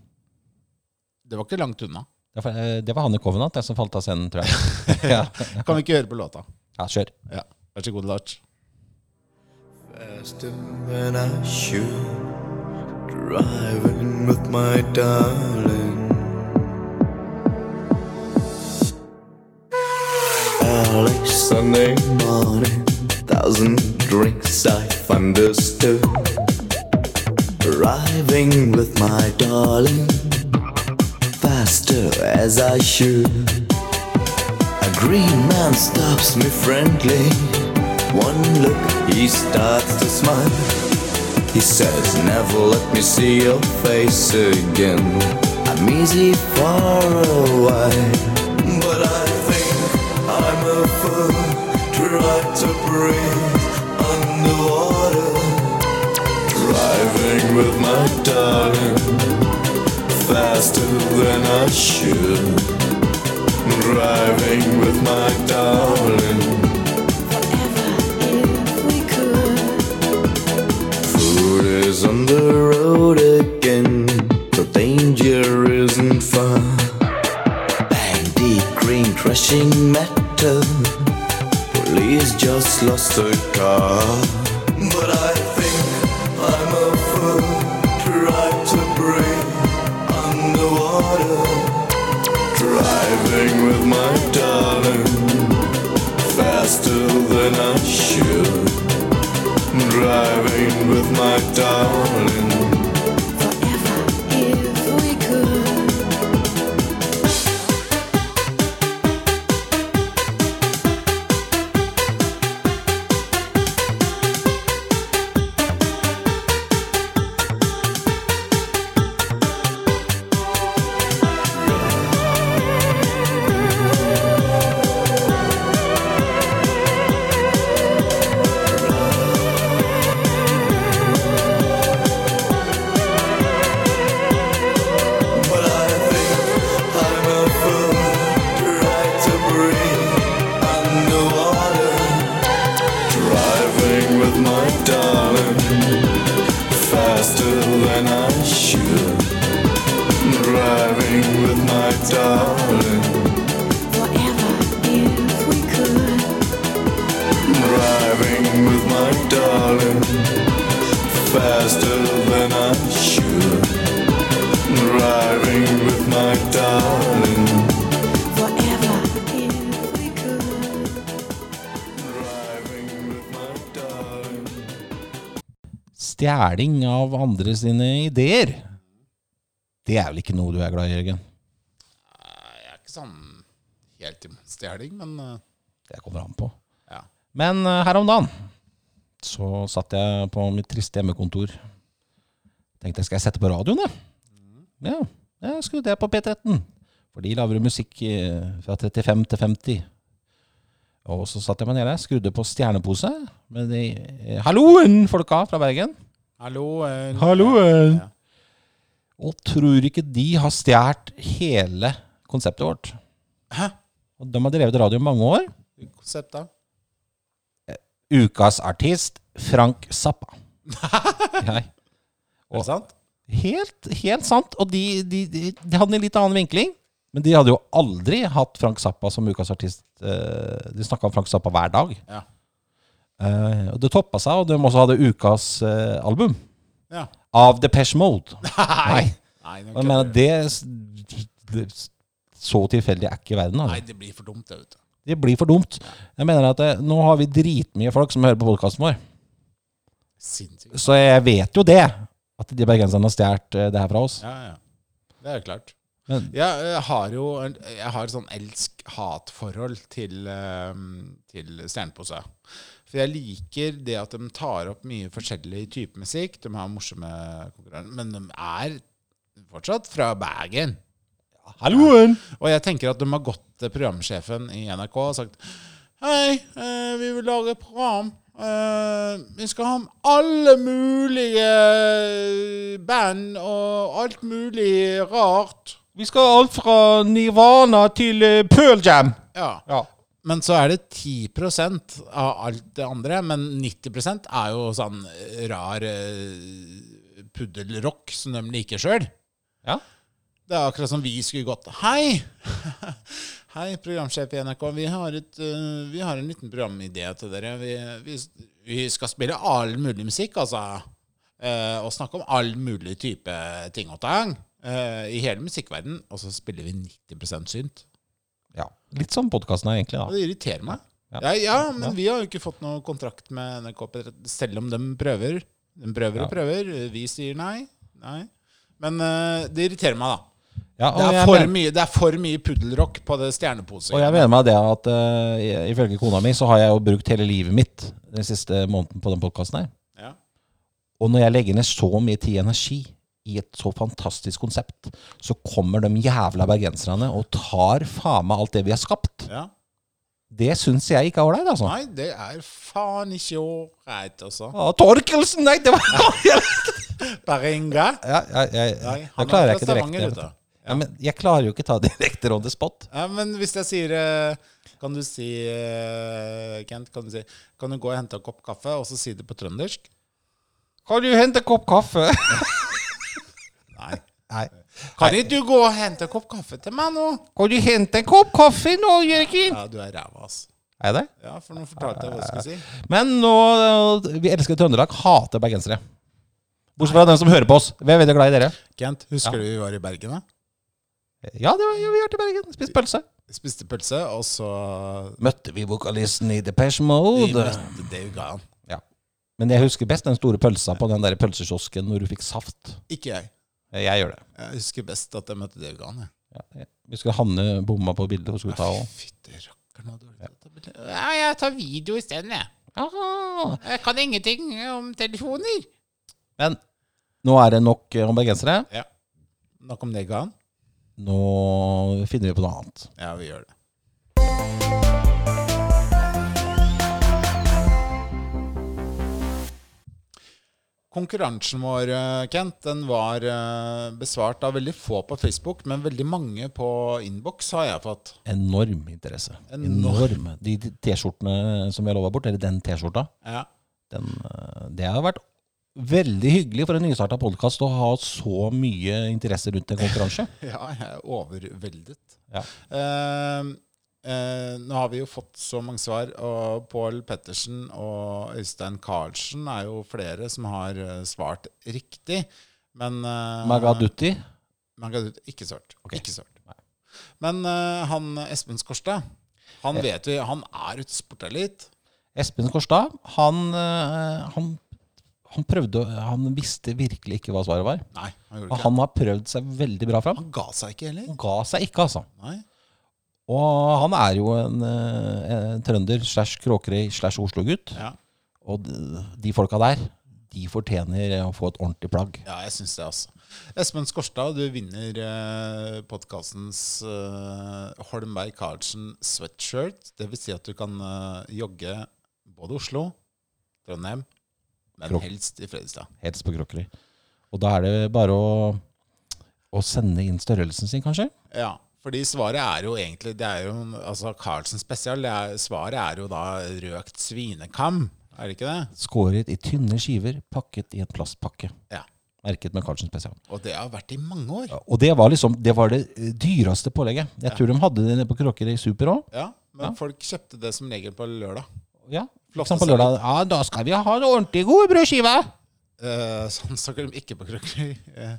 Det var ikke langt unna.
Det var, eh, det var Hanne Kovenant den som falt av scenen, tror jeg.
[LAUGHS]
ja.
Kan vi ikke høre på låta?
ja, kjør.
Ja. Vær så god, Lars.
Faster than I should. Driving with my darling. Early Sunday morning. Thousand drinks I've understood. Driving with my darling. Faster as I should. A green man stops me friendly. One look, he starts to smile. He says, Never let me see your face again. I'm easy for a while, but I think I'm a fool. Try to breathe underwater. Driving with my darling, faster than I should. Driving with my darling,
If we could,
food is on the road again. The danger isn't far. Bandy green crashing metal. Police just lost a car. But I think I'm a fool. Try to breathe underwater. Driving with my darling. Faster than I should. Driving with my darling.
forever if we could.
But I think I'm a fool. Try to breathe underwater. Driving with my darling. Faster than I should. Driving with my darling.
Forever if we could.
Driving with my darling. Faster than I should. Driving with my darling.
Forever if we could.
Driving with my darling.
Stjeling av andre sine ideer. Det er vel ikke noe du er glad i, Jørgen?
Nei, Jeg er ikke sånn helt imot stjeling, men eh,
Det kommer an på.
ja.
Men eh, her om dagen så satt jeg på mitt triste hjemmekontor. Tenkte jeg skal jeg sette på radioen, da? Ja, jeg skrudde jeg på P13. For de lager jo musikk eh, fra 35 til 50. Og så satt jeg meg nede, skrudde på Stjernepose med de eh, Halloen, folka fra Bergen.
Hallo. eh,
Halloen!
Ja.
Og tror ikke de har stjålet hele konseptet vårt.
Hæ?
Og de har drevet radio i mange år.
Konsept, da? [LAUGHS]
Ukas artist, Frank Zappa. Jeg.
Er det sant?
Helt, helt sant. Og de, de, de, de hadde en litt annen vinkling. Men de hadde jo aldri hatt Frank Zappa som ukas artist. Eh, De snakka om Frank Zappa hver dag.
Ja.
Eh, og det toppa seg, og de også hadde ukas eh, album
Ja.
av Depeche Mode.
[LAUGHS] Nei. Nei,
Og jeg
nå kødder
mener,
du.
det, det Så tilfeldig er ikke verden.
Nei,
Altså.
det blir for dumt, det, vet du.
Det blir for dumt. Jeg mener at eh, Nå har vi dritmye folk som hører på podkasten vår,
Sinnssykt.
så jeg vet jo det. At de bergenserne har stjålet eh, det her fra oss.
Ja, ja. Det er klart.
Men-
jeg, jeg har jo en- Jeg har sånn elsk-hat-forhold til, eh, til Stjernepose. For jeg liker det at de tar opp mye forskjellig type musikk. De har morsomme konkurranser, men de er fortsatt fra Bergen.
Halloen!
Og jeg tenker at de har gått til programsjefen i NRK og sagt Hei, eh, vi vil lage et program. Eh, vi skal ha med alle mulige band og alt mulig rart.
Vi skal ha alt fra Nirvana til eh, Pearl Jam.
Ja.
Ja.
Men så er det 10 av alt det andre. Men 90 er jo sånn rar eh, puddelrock som de liker sjøl.
Ja.
Det er akkurat som vi skulle gått Hei! [LAUGHS] Hei, programsjef i NRK. Vi har, et, eh, vi har en liten programidé til dere. Vi, vi, vi skal spille all mulig musikk, altså. Eh, og snakke om all mulig type ting og tang eh, i hele musikkverdenen. Og så spiller vi 90 synt.
ja. Litt sånn podkasten er egentlig,
Ja,
da.
det irriterer meg.
Ja.
Ja, ja, men
Ja.
vi har jo ikke fått noe kontrakt med NRK P13, selv om de prøver. De prøver
Ja.
og prøver. Vi sier nei. nei. Men eh, det irriterer meg, da.
Ja,
Det
og
er
jeg
for
mener-
mye, det er for mye puddelrock på det stjernepose.
Og jeg mener meg det at eh, ifølge kona mi så har jeg jo brukt hele livet mitt den siste måneden på den podkasten her.
Ja.
Og når jeg legger ned så mye tid og energi i et så fantastisk konsept, så kommer de jævla bergenserne og tar faen meg alt det vi har skapt.
Ja.
Det syns jeg ikke er ålreit, altså.
Nei, det er faen ikke ålreit, altså.
Ah, Torkelsen! Nei, det var
Baringa.
ja, jeg, jeg,
Nei,
Da
han er
klarer jeg
fra
ikke
Stavanger, vet
direkte.
du.
Ja, men jeg klarer jo ikke ta direkte on the spot.
Ja, men hvis jeg sier eh, Kan du si eh, Kent, kan du si Kan du gå og hente en kopp kaffe, og så si det på trøndersk?
Kan du hente en kopp kaffe?
Nei.
Nei.
Kan ikke du gå og hente en kopp kaffe til meg nå?
Kan du hente en kopp kaffe nå, Jørgen?
Ja, du er ræva, ass.
Er det?
Ja, for nå fortalte jeg hva jeg skulle si.
Men nå eh, Vi elsker Trøndelag, hater bergensere. Bortsett fra den som hører på oss. Vi er veldig glad i dere.
Kent, husker du vi var i Bergen, da?
Ja, det var, ja vi har til Bergen. Spist pølse.
Spiste pølse, og så
Møtte vi vokalisten i Depeche
Vi
Mode.
møtte Dave Gahan.
Men jeg husker best den store pølsa på den der pølsekiosken når du fikk saft.
Ikke jeg.
Jeg gjør det.
Jeg husker best at jeg møtte Dave Gahan, jeg.
Ja, jeg husker Hanne bomma på bildet hun skulle ta òg.
Fytti rakker, nå dårlig dette ble. Ja, jeg tar video isteden, jeg.
Ah!
Jeg kan ingenting om telefoner.
Men nå er det nok eh, om bergensere.
Ja. Nok om Dave Gahan?
Nå finner vi på noe annet.
Ja, vi gjør det. Konkurransen vår, eh, Kent, den var eh, besvart av veldig få på Facebook, men veldig mange på innboks har jeg fått.
Enorm interesse.
Enorm.
Enorm. De de T-skjortene som vi har lova bort, eller den T-skjorta,
Ja.
den, eh, det har vært veldig hyggelig for en nystarta podkast å ha så mye interesse rundt en konkurranse.
Ja, jeg er overveldet.
Ja.
Eh, eh, nå har vi jo fått så mange svar, og Pål Pettersen og Øystein Karlsen er jo flere som har eh, svart riktig. Men eh,
Magadutti.
Magadutti, ikke svart. Ikke svart. Men eh, han Espen Skorstad, han vet vi, han er utsportelit.
Espen Kårstad, han, eh, han, han prøvde å- Han visste virkelig ikke hva svaret var.
Nei, han gjorde
Og
ikke
han har prøvd seg veldig bra
det.
fram.
Han ga seg ikke heller.
Han ga seg ikke, altså.
Nei.
Og han er jo en, eh, en trønder slash Kråkerøy slash Oslo-gutt.
Ja.
Og de, de folka der, de fortjener å få et ordentlig plagg.
Ja, jeg syns det, altså. Espen Skorstad, du vinner eh, podkastens eh, Holmberg Karlsen sweatshirt. Det vil si at du kan eh, jogge både Oslo, Trondheim, men
Krok-
helst i Fredrikstad.
Helst på Kråkerøy. Og da er det bare å, å sende inn størrelsen sin, kanskje?
Ja, fordi svaret er jo egentlig det er jo, altså Karlsen spesial, det er, svaret er jo da røkt svinekam, er det ikke det?
Skåret i tynne skiver, pakket i en plastpakke.
Ja.
Merket med Carlsen spesial.
Og det har vært i mange år.
Ja, Og det var liksom, det var det eh, dyreste pålegget. Jeg tror de hadde det nede på Kråkerøy Super òg.
Ja,
Ja.
men folk kjøpte det som regel på lørdag.
Ja.
Flotte
Sånn på lørdag. Ja, da skal vi ha det ordentlig gode brødskiver!
Eh, sånn snakker de ikke på Krøkkerøy. Eh,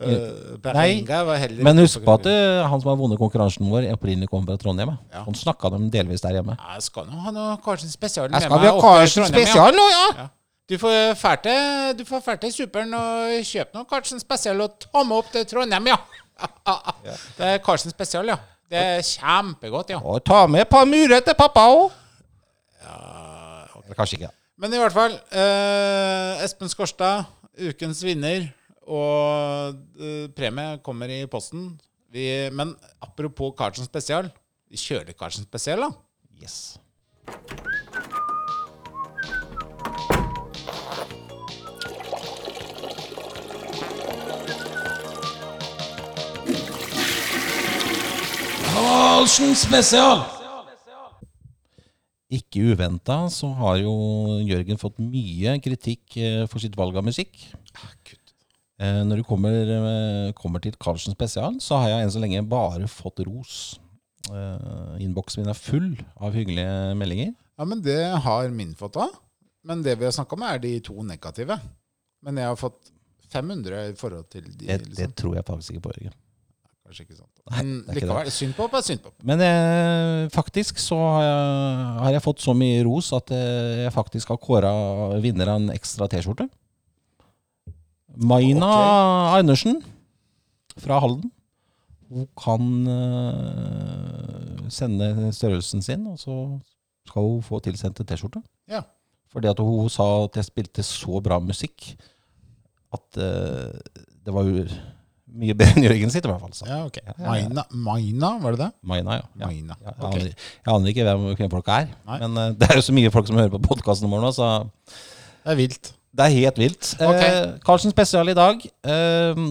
eh, Berenga var heller
Men
ikke
husk på at
Krøkkerøy.
eh, han som har vunnet konkurransen vår, opprinnelig kom fra Trondheim. eh.
Ja.
Han snakka dem delvis der hjemme.
Ja, Jeg skal nå ha noe Karsten spesial
Jeg skal vi ha Karlsen spesial nå, ja!
Ja. Du får fære til- du får fære til Superen og kjøpe noe Karsten spesial og ta med opp til Trondheim, ja. [LAUGHS] Det er Karsten spesial, ja. Det er kjempegodt, ja.
Og ta med et par murer til pappa òg! Eller kanskje ikke.
Men i hvert fall, eh, Espen Skorstad, ukens vinner, og eh, premie kommer i posten. Vi, men apropos Karlsen spesial, vi kjører Karlsen spesial, da.
Yes. Karlsen spesial! Ikke uventa så har jo Jørgen fått mye kritikk eh, for sitt valg av musikk. Eh, Når det kommer, eh, kommer til Karlsen spesial, så har jeg enn så lenge bare fått ros. Eh, Innboksen min er full av hyggelige meldinger.
Ja, men det har min fått òg. Men det vi har snakka om, er de to negative. Men jeg har fått 500 i forhold til de.
Det, det
liksom.
tror jeg faktisk ikke på, Jørgen.
Kanskje ikke sant. Men
det er ikke
likevel, syndpop er syndpop.
Men eh, faktisk så har jeg, har jeg fått så mye ros at eh, jeg faktisk har kåra vinner av en ekstra T-skjorte. Maina Andersen fra Halden. Hun kan eh, sende størrelsen sin, og så skal hun få tilsendt en T-skjorte.
Ja.
Fordi at hun sa at jeg spilte så bra musikk at eh, det var jo mye bedre enn Jørgen sitt, i hvert fall. sa hun.
Ja, ok.
ja, ja.
Maina, Maina, var det det?
Maina, ja. ja.
Maina.
Ja, jeg,
Ok.
aner, jeg aner ikke hvem, hvem folk er,
Nei.
men eh, det er jo så mye folk som hører på podkasten vår nå, så
Det er vilt.
det er helt vilt.
Ok.
Eh, Karlsen spesial i dag. Eh,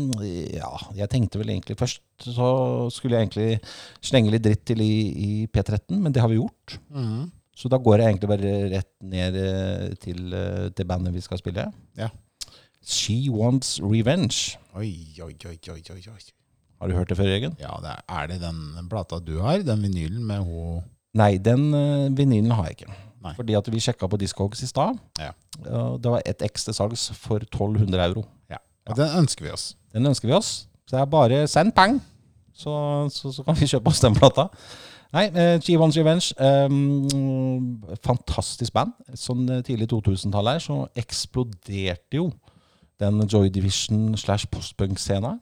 ja, jeg tenkte vel egentlig først så skulle jeg egentlig slenge litt dritt til i, i P13, men det har vi gjort.
Mhm.
Så da går jeg egentlig bare rett ned eh, til, eh, til bandet vi skal spille.
Ja.
She Wants Revenge.
Oi, oi, oi, oi, oi, oi.
Har du hørt det før, Jørgen?
Ja, det er, er det den plata du har? Den vinylen med ho...
Nei, den eh, vinylen har jeg ikke.
Nei.
Fordi at vi sjekka på Discogs i stad.
Ja.
og Det var ett X til salgs for 1200 euro.
Ja. Den ønsker vi oss.
Den ønsker vi oss. Så det er bare send peng, så, så, så kan vi kjøpe oss den plata. Nei, eh, G1's Revenge. eh, fantastisk band. Sånn eh, tidlig 2000-tallet her, så eksploderte jo den Joy Division slash postpunk-scena.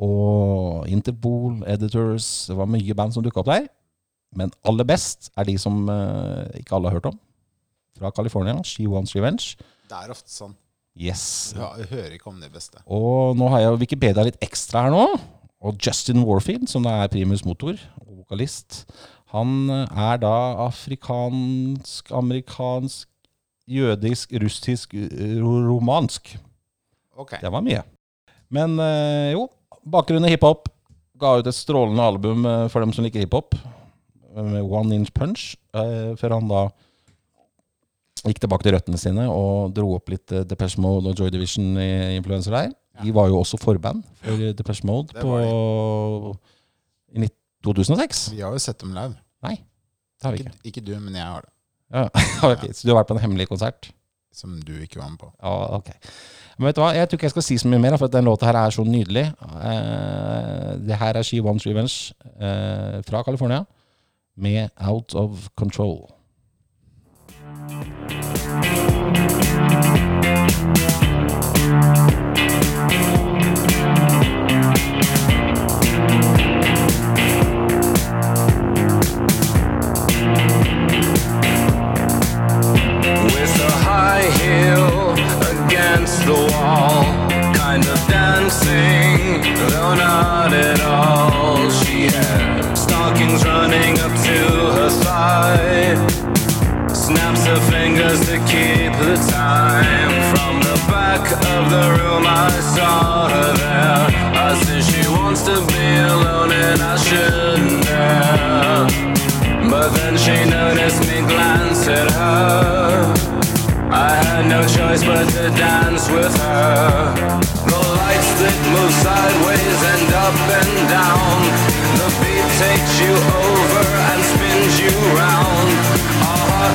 Og Interpol, Editors Det var mye band som dukka opp der. Men aller best er de som eh, ikke alle har hørt om. Fra California. She Wants Revenge.
Det er ofte sånn.
Yes.
hører ikke om det beste.
Og nå har jeg jo Wikipedia litt ekstra her nå. Og Justin Warfield, som da er primus motor og vokalist, han er da afrikansk, amerikansk, jødisk, russisk, ro- romansk.
Ok.
Det var mye. Men eh, jo, bakgrunn i hiphop. Ga ut et strålende album eh, for dem som liker hiphop, eh, med One Inch Punch, eh, før han da gikk tilbake til røttene sine og dro opp litt eh, Depeche Mode og Joy Division-influenser der. De var jo også forband for eh, Depeche Mode
Det
på,
var
i nitt- 2006.
Vi har jo sett dem live.
Nei, det har vi
Ikke,
ikke.
ikke du, men jeg har det.
Ja, [LAUGHS] ok, Så du har vært på en hemmelig konsert?
Som du ikke var med på.
Ja, ok. Men vet du hva, jeg tror ikke jeg skal si så mye mer, for at den låta her er så nydelig. Eh, det her er She Wants Revenge eh, fra California, med Out of Control.
With a high heel against the wall, kind of dancing, though not at all. She had stockings running up to her thigh. Snaps her fingers to keep the time. From the back of the room, I saw her there. I said she wants to be alone, and I shouldn't dare. But then she noticed me glance at her. I had no choice but to dance with her. The lights that move sideways and up and down. The beat takes you over and spins you round. Our heart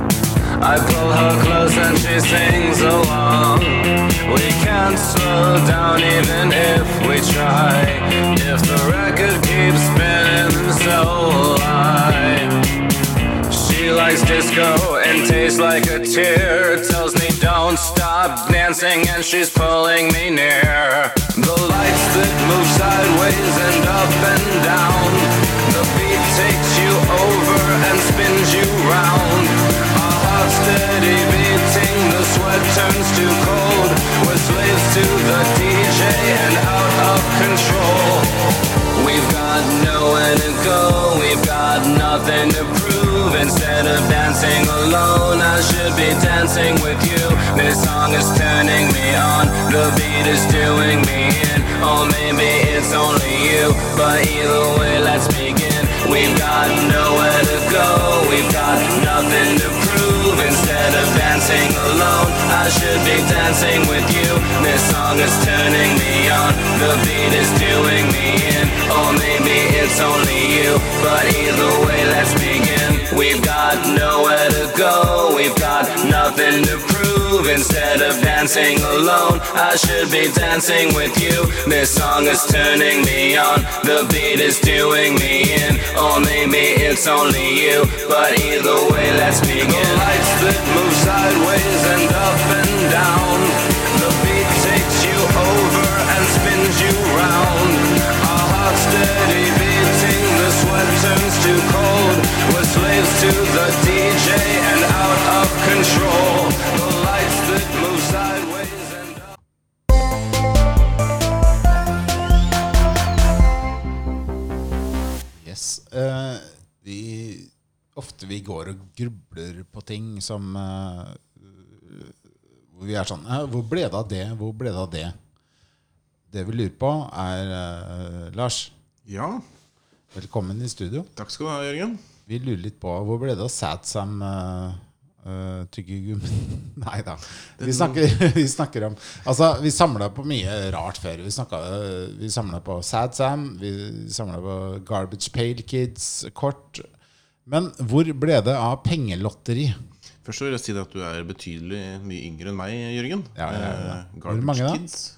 I pull her close and she sings along. We can't slow down even if we try. If the record keeps spinning, so will I. She likes disco and tastes like a tear. Tells me don't stop dancing and she's pulling me near. The lights that move sideways and up and down. The beat takes you over and spins you round. Our hearts steady beating, the sweat turns to cold. We're slaves to the DJ and out of control. We've got nowhere to go, we've got nothing to prove. Instead of dancing alone, I should be dancing with you. This song is turning me on, the beat is doing me in. Or maybe it's only you, but either way, let's begin. We've got nowhere to go, we've got nothing to prove. Instead of dancing alone, I should be dancing with you. This song is turning me on, the beat is doing me in. Or maybe it's only you, but either way, let's begin. We've got nowhere to go, we've got nothing to prove. Instead of dancing alone, I should be dancing with you. This song is turning me on, the beat is doing me in. Or maybe it's only you, but either way, let's begin. The lights that move sideways and up and down. The beat takes you over and spins you round. Our hearts steady beating, the sweat turns to cold. We're slaves to the DJ and out of control. The lights that move sideways and up.
Yes. Eh, vi, ofte vi går og grubler på ting som eh, Hvor vi er sånn «Eh, Hvor ble det av det? Hvor ble det av det? Det vi lurer på, er eh, Lars,
Ja,
velkommen i studio.
takk skal du ha, Jørgen.
Vi lurer litt på hvor ble det av Sadsam uh, tyggegummi? [LAUGHS] Nei da. Vi snakker, [LAUGHS] vi snakker om Altså, vi samla på mye rart før. Vi, snakket, eh, vi samla på Sadsam, vi samla på Garbage Pale Kids, kort. Men hvor ble det av pengelotteri?
Først så vil jeg si deg at du er betydelig mye yngre enn meg, Jørgen.
Ja, ja, ja.
Eh,
Hvor mange da?
Kids.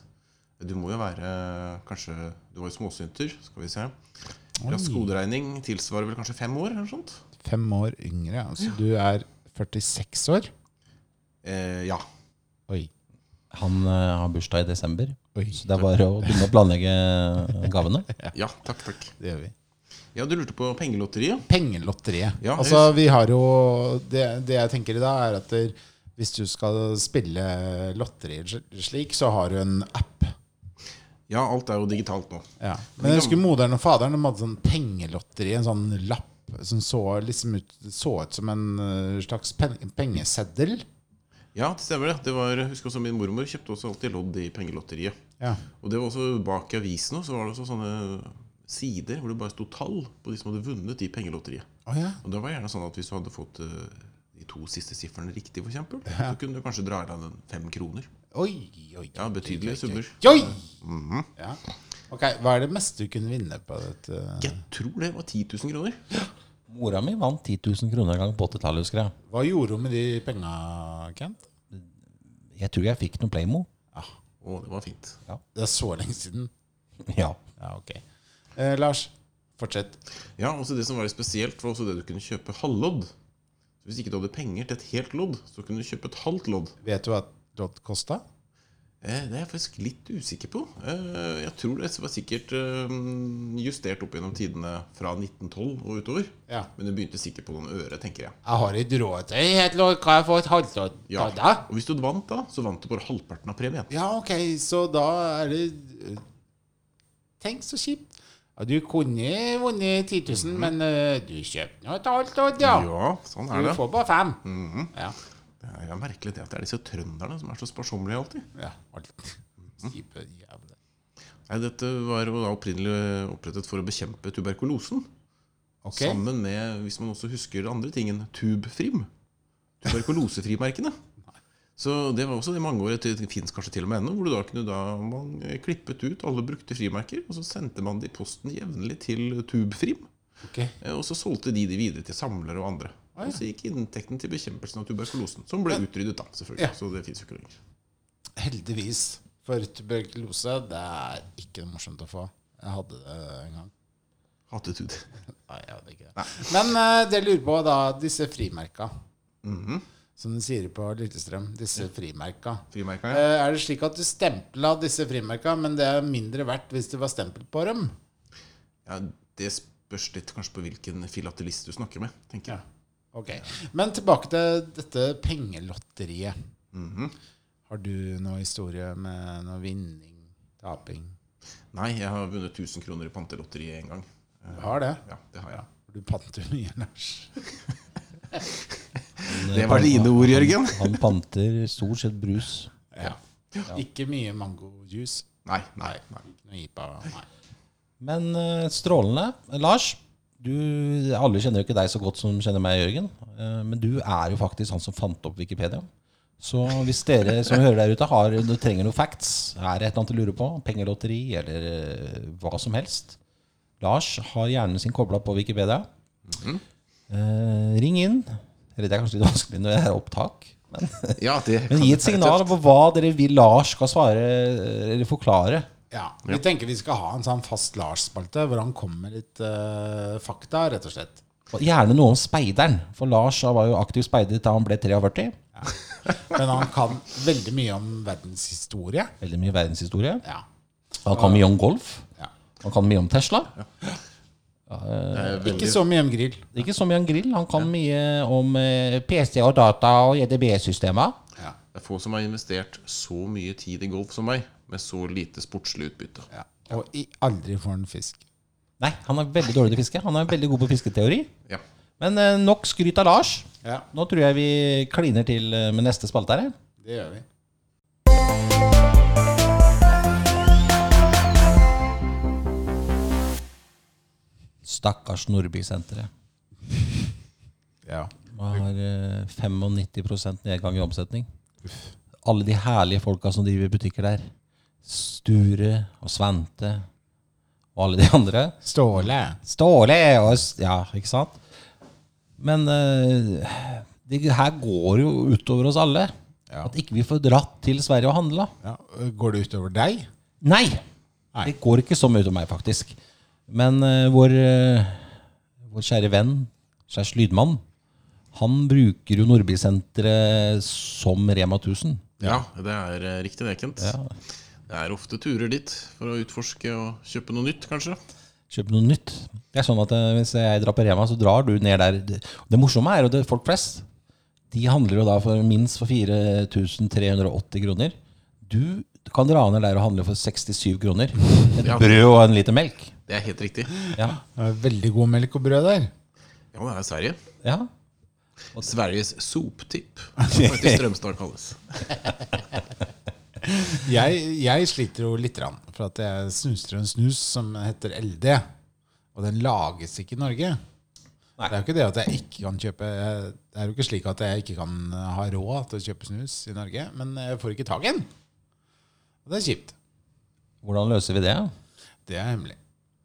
Du må jo være eh, kanskje Du var jo småsynter, skal vi se. Rask skoderegning tilsvarer vel kanskje fem år? eller noe sånt?
Fem år yngre. Altså, du er 46 år.
Eh, ja.
Oi.
Han eh, har bursdag i desember,
Oi.
så det er bare å begynne å planlegge eh, gavene.
ja. Takk, takk.
Det gjør vi.
Ja, Du lurte på pengelotteriet?
Pengelotteriet.
Ja,
altså, vi har jo det, det jeg tenker i dag, er at der, hvis du skal spille lotteri sl- slik, så har du en app.
Ja, alt er jo digitalt nå.
Ja. Men jeg husker moderen og faderen de hadde sånn pengelotteri, en sånn lapp som så, liksom ut, så ut som en eh, slags pen, pengeseddel.
Ja, det stemmer det. det var, jeg husker også Min mormor kjøpte også alltid lodd i pengelotteriet.
Ja.
Og det var også bak i avisen også, så var det også sånne sider hvor det bare sto tall på de som hadde vunnet i pengelotteriet.
Å ja.
Og det var gjerne sånn at hvis du hadde fått eh, de to siste sifrene riktig, for eksempel, så kunne du kanskje dra i land en fem kroner.
Oi, oi,
Ja, betydelige summer.
oi! Ja. Ok, Hva er det meste du kunne vinne på dette?
Jeg tror det var 10 000 kroner.
Mora mi vant 10 000 kroner en gang på 80-tallet, husker jeg.
Hva gjorde hun med de penga, Kent?
Jeg tror jeg fikk noe Playmo.
Å, det var fint.
Det er så lenge siden.
Ja.
Ja, ok. Eh, Lars, fortsett.
Ja, også det som var litt spesielt, var også det du kunne kjøpe halvlodd. Så Hvis ikke du hadde penger til et helt lodd, så kunne du kjøpe et halvt lodd.
Vet du hva lodd kosta?
Eh, Det er jeg faktisk litt usikker på. Eh, Jeg tror det var sikkert eh, justert opp gjennom tidene fra 1912 og utover.
Ja.
Men det begynte sikkert på noen øre, tenker jeg.
Jeg har ikke råd til det. helt lov. Kan jeg få et halvt
Ja.
av det?
Og hvis du vant da, så vant du bare halvparten av premien.
Ja, ok, så da er det eh, Tenk så kjipt. Ja, du kunne vunnet 10 000, men eh, du kjøpte nå et halvt odd, ja.
Ja, sånn
Du
er Mhm. det. Mm.
får bare fem. Ja.
Mhm. Det er jo merkelig det at det er disse trønderne som er så sparsommelige alltid.
ja. Alt. [LAUGHS]
Mm.
Kjipe jævla
Nei, dette var jo da opprinnelig opprettet for å bekjempe tuberkulosen.
Ok.
Sammen med, hvis man også husker andre tingen, tubfrim. Tuberkulosefrimerkene. Så det var også det mange år etter, det finnes kanskje til og med ennå, hvor du da kunne da man klippet ut alle brukte frimerker, og så sendte man det i posten jevnlig til tubfrim.
Ok.
eh, Og så solgte de de videre til samlere og andre. Og så gikk inntekten til bekjempelsen av tuberkulosen, som ble utryddet da, selvfølgelig.
Ja.
Så det fins jo ikke lenger.
Heldigvis for tuberkulose. Det er ikke morsomt å få. Jeg hadde det en gang.
Hatet du det?
Nei, jeg hadde ikke det. Men eh, det jeg lurer på, da, disse frimerka. Som de sier på Lillestrøm. Disse frimerka.
Frimerkene?
Eh, Er det slik at du stempla disse frimerka, men det er mindre verdt hvis det var stempel på dem?
Ja, det spørs litt kanskje på hvilken filatelist du snakker med, tenker jeg.
Ok. Men tilbake til dette pengelotteriet.
Mhm.
Har du noe historie med noe vinning, taping?
Nei, jeg har vunnet 1000 kroner i pantelotteriet en gang.
Du har det?
Ja, det har jeg.
Du panter mye, Lars.
Det var dine ord, Jørgen.
Han panter stort sett brus.
Ja. Ikke mye mangojuice.
Mm. Nei, nei, nei.
Ikke noe IPA. Nei.
Men eh, strålende. Lars, du, alle kjenner jo ikke deg så godt som kjenner meg, Jørgen. Eh, men du er jo faktisk han som fant opp Wikipedia. Så hvis dere som hører der ute har, du trenger noen facts, er det et eller annet du lurer på, pengelotteri eller eh, hva som helst Lars har hjernen sin kobla på Wikipedia.
Mhm.
Eh, ring inn. Eller det er kanskje litt vanskelig når det er opptak. Men,
Ja, det
men
kan
gi
det
et
være
signal
tøft.
på hva dere vil Lars skal svare eh, eller forklare.
Ja, Vi tenker vi skal ha en sånn fast Lars-spalte, hvor han kommer med litt eh, fakta, rett og slett.
Og Gjerne noe om speideren, for Lars han var jo aktiv speider da han ble 43.
Men han kan veldig mye om verdenshistorie.
Veldig mye verdenshistorie.
Ja.
Han kan mye om golf.
Ja.
Han kan mye om Tesla.
Det er veldig-
Ikke så mye om grill.
Ikke så mye om grill. Han kan mye om eh, PC og data og E EDB-systemer.
Det er få som har investert så mye tid i golf som meg, med så lite sportslig utbytte.
Og i, aldri får han fisk.
Nei, han er veldig dårlig til å fiske. Han er veldig god på fisketeori.
Ja.
Men eh, nok skryt av Lars.
Ja.
Nå tror jeg vi kliner til eh, med neste spalte her.
Det gjør vi.
Stakkars Nordbysenteret.
Ja.
Man har eh, 95 nedgang i omsetning. Alle de herlige folka som driver butikker der. Sture og Svante og alle de [LAUGHS] andre.
Ståle.
Ståle og s- Ja, ikke sant? Men eh, det her går jo utover oss alle.
Ja.
At ikke vi får dratt til Sverige og handla.
Ja. Går det utover deg?
Nei!
Nei.
Det går ikke så mye utover meg, faktisk. Men eh, vår, eh, vår kjære venn, Kjærs Lydmann, han bruker jo Nordbysenteret som Rema 1000.
ja, det er eh, riktig det, Kent. Det er ofte turer dit for å utforske og kjøpe noe nytt, kanskje.
Kjøpe noe nytt. Det er sånn at eh, Hvis jeg drar på Rema, så drar du ned der. Det, det morsomme er jo at folk flest de handler jo da for minst for 4380 kroner. Du kan dra ned der og handle for 67 kroner. Et
Ja.
brød og en liter melk.
Det er helt riktig.
Ja.
Det er Veldig god melk og brød der.
Ja, det er Sverige.
ja.
Sveriges soptipp, som etter Strømstad kalles.
Jeg, jeg sliter jo litt, grann, for at jeg snuser en snus som heter LD. Og den lages ikke i Norge. Det er jo ikke det at jeg ikke kan kjøpe Det er jo ikke slik at jeg ikke kan ha råd til å kjøpe snus i Norge, men jeg får ikke tak i den. Og det er kjipt.
Hvordan løser vi det?
Det er hemmelig.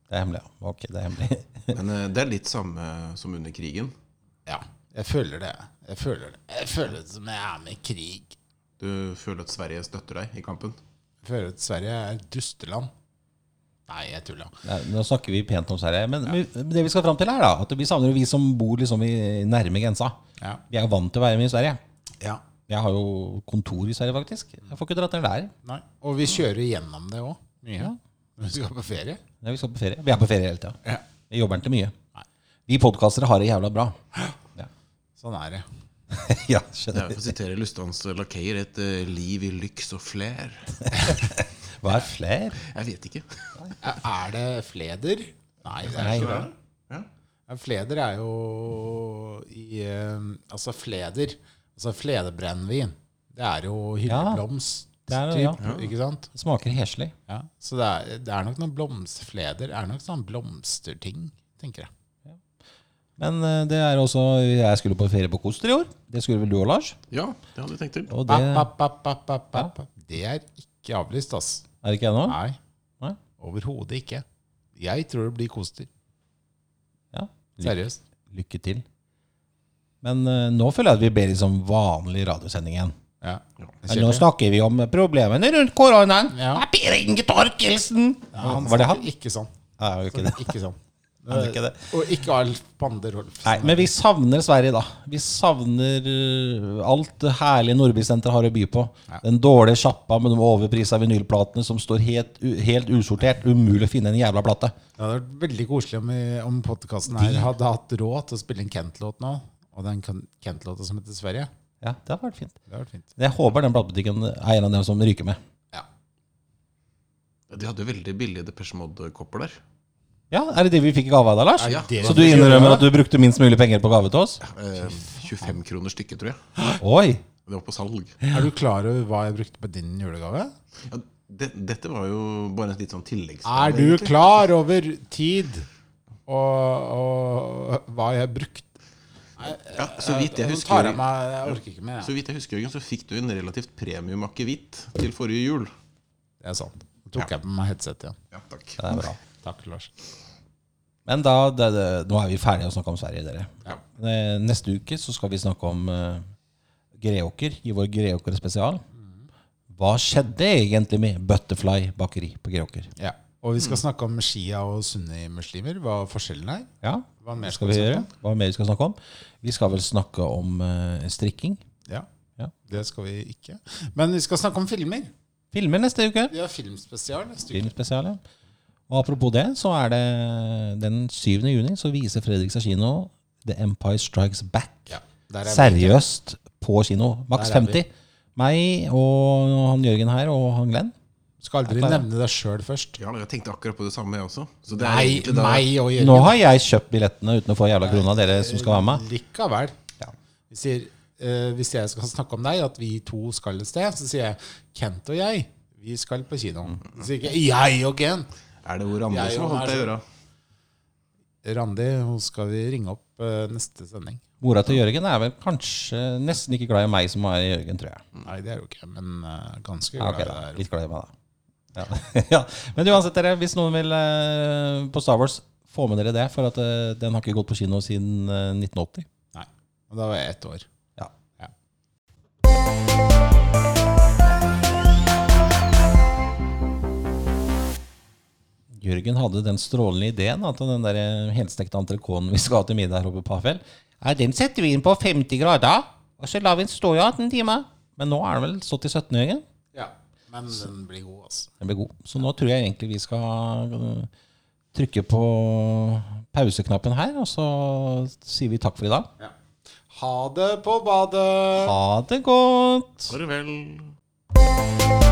Det er hemmelig. ja. Ok, det er hemmelig. [LAUGHS]
Men eh, det er litt samme som under krigen.
Ja. Jeg føler det. Jeg føler det Jeg føler det som jeg er med i krig.
Du føler at Sverige støtter deg i kampen.
Jeg føler at Sverige er et dusteland. Nei, jeg tulla.
Nei, nå snakker vi pent om Sverige. Men men det vi skal fram til, er da at vi savner jo vi som bor liksom i nærme grensa.
Ja.
Vi er jo vant til å være med i Sverige.
Ja.
Jeg har jo kontor i Sverige, faktisk. Jeg får ikke dratt ned der.
Nei. Og vi kjører gjennom det òg. Mye.
Ja.
Når vi skal på ferie.
Nei, vi skal på ferie. Vi er på ferie hele tida.
Ja.
Vi jobber ikke mye.
Nei.
Vi podkastere har det jævla bra. [LAUGHS]
Sånn er det.
ja,
Det er
skjønner
for å sitere Lustans lakeier et eh, liv i lyks og flair.
Hva er flair?
Jeg vet ikke.
Er er det fleder? Nei. det er
Nei.
ikke det.
Ja.
Ja, Fleder er jo i eh, Altså fleder. Altså fledebrennevin. Det er jo hylleblomst.
Det er det,
typ,
ja.
Ikke sant?
Det smaker heslig.
Ja. Så det er, det er nok noen blomstfleder. Det er nok sånn blomsterting, tenker jeg.
Men eh, det er også Jeg skulle på ferie på Koster i år. Det skulle vel du òg, Lars?
ja, det hadde jeg tenkt til.
Og det
Papp, papp, papp, papp, papp, papp. Det er ikke avlyst, ass.
er det ikke jeg nå?
Nei.
Nei.
Overhodet ikke. Jeg tror det blir koster.
Ja. Lykke,
Seriøst.
lykke til. Men eh, nå føler jeg at vi ber litt som vanlig radiosending igjen.
Ja.
Men Nå snakker vi om problemene rundt koronaen.
Ja.
Det er Per Inge Torkelsen! Var det han?
Ikke sånn.
Nei, det var ikke det.
Ikke sånn.
Nei, det er ikke det.
Og ikke Alf Bande Rolfsen.
Nei, men vi savner Sverige, da. Vi savner eh, alt det herlige Nordbysenteret har å by på. Den dårlige sjappa med de overprisa vinylplatene som står helt, u- helt usortert. Umulig å finne en jævla plate.
Det hadde vært veldig koselig om, vi- om podkasten her hadde hatt råd til å spille en Kent-låt nå. Og den Ken- Kent-låta som heter Sverige.
Ja, det har vært fint.
Det hadde vært fint.
Jeg håper den platebutikken er en av dem som ryker med.
Ja.
De hadde jo veldig billige Depeche Mode-kopper der.
Ja, Er det de vi fikk i gave av deg, Lars?
Ja.
det-
Så du innrømmer at du brukte minst mulig penger på gave til oss?
Eh, 25 kroner stykket, tror jeg.
Oi!
Det var på salg.
Er du klar over hva jeg brukte på din julegave?
Ja, det, dette var jo bare et litt sånn tilleggsgave.
Er du
egentlig.
klar over tid og, og hva jeg brukte?
Ja, så vidt jeg
Nå
husker,
tar jeg, meg, jeg orker ikke mer.
så
jeg.
vidt jeg husker Jørgen, så fikk du en relativt premium akevitt til forrige jul.
Det er sant. Nå tok jeg på meg headset igjen.
Ja, takk.
Det er bra.
Takk, Lars.
Men da, det, det, nå er vi ferdige å snakke om Sverige, dere. Eh, Neste uke så skal vi snakke om eh, Greåker i vår Greåker-spesial.
Mm.
Hva skjedde egentlig med Butterfly bakeri på Greåker?
Ja. Og vi skal snakke om Shia og sunnimuslimer. Hva forskjellen er.
Ja,
Hva mer
skal vi
snakke
gjøre?
om?
Hva mer skal vi snakke om? Vi skal vel snakke om eh, strikking.
Ja.
Ja.
Det skal vi ikke. Men vi skal snakke om filmer.
Filmer neste uke.
Vi har filmspesial neste uke.
Filmspesial, ja. Og apropos det, så er det den 7. juni så viser Fredrikstad kino The Empire Strikes Back.
Ja, der er vi.
Seriøst på kino. Maks
Der er vi.
50. Meg og han Jørgen her og han Glenn.
Skal aldri
Dette er-
nevne deg sjøl først.
Ja, jeg tenkte akkurat på det samme, jeg også. Så det er
Nei,
egentlig da-
meg og Jørgen.
Nå har jeg kjøpt billettene uten å få jævla krona, dere som skal være med.
Likevel. Vi sier, eh, hvis jeg skal snakke om deg, at vi to skal et sted, så sier jeg Kent og jeg, vi skal på kino. Så sier ikke jeg og Kent.
Er det hvor andre
Jeg
som har
og
holdt deg i øra?
Randi, hun skal vi ringe opp eh, neste sending.
Mora til Jørgen er vel kanskje nesten ikke glad i meg som er i Jørgen, tror jeg.
Nei, det er jo ikke, men eh, ganske
Ja, ok
glad i
da,
det her.
Litt glad i meg, da. Ja. [LAUGHS] ja. Men uansett, dere, hvis noen vil eh, på Star Wars, få med dere det. For at eh, den har ikke gått på kino siden eh, 1980.
Nei. Og da var jeg ett år.
Ja.
Ja.
Jørgen hadde den strålende ideen at den der eh, helstekte entrecôten vi skal ha til middag her oppe på Hafjell, ja, den setter vi inn på 50 grader, og så lar vi den stå i 18 timer. Men nå er den vel stått i 17, Jørgen?
Ja, men den blir god, altså.
Den blir god. Så nå tror jeg egentlig vi skal øh, trykke på pauseknappen her, og så sier vi takk for i dag.
Ja. Ha det på badet!
Ha det godt!
Farvel.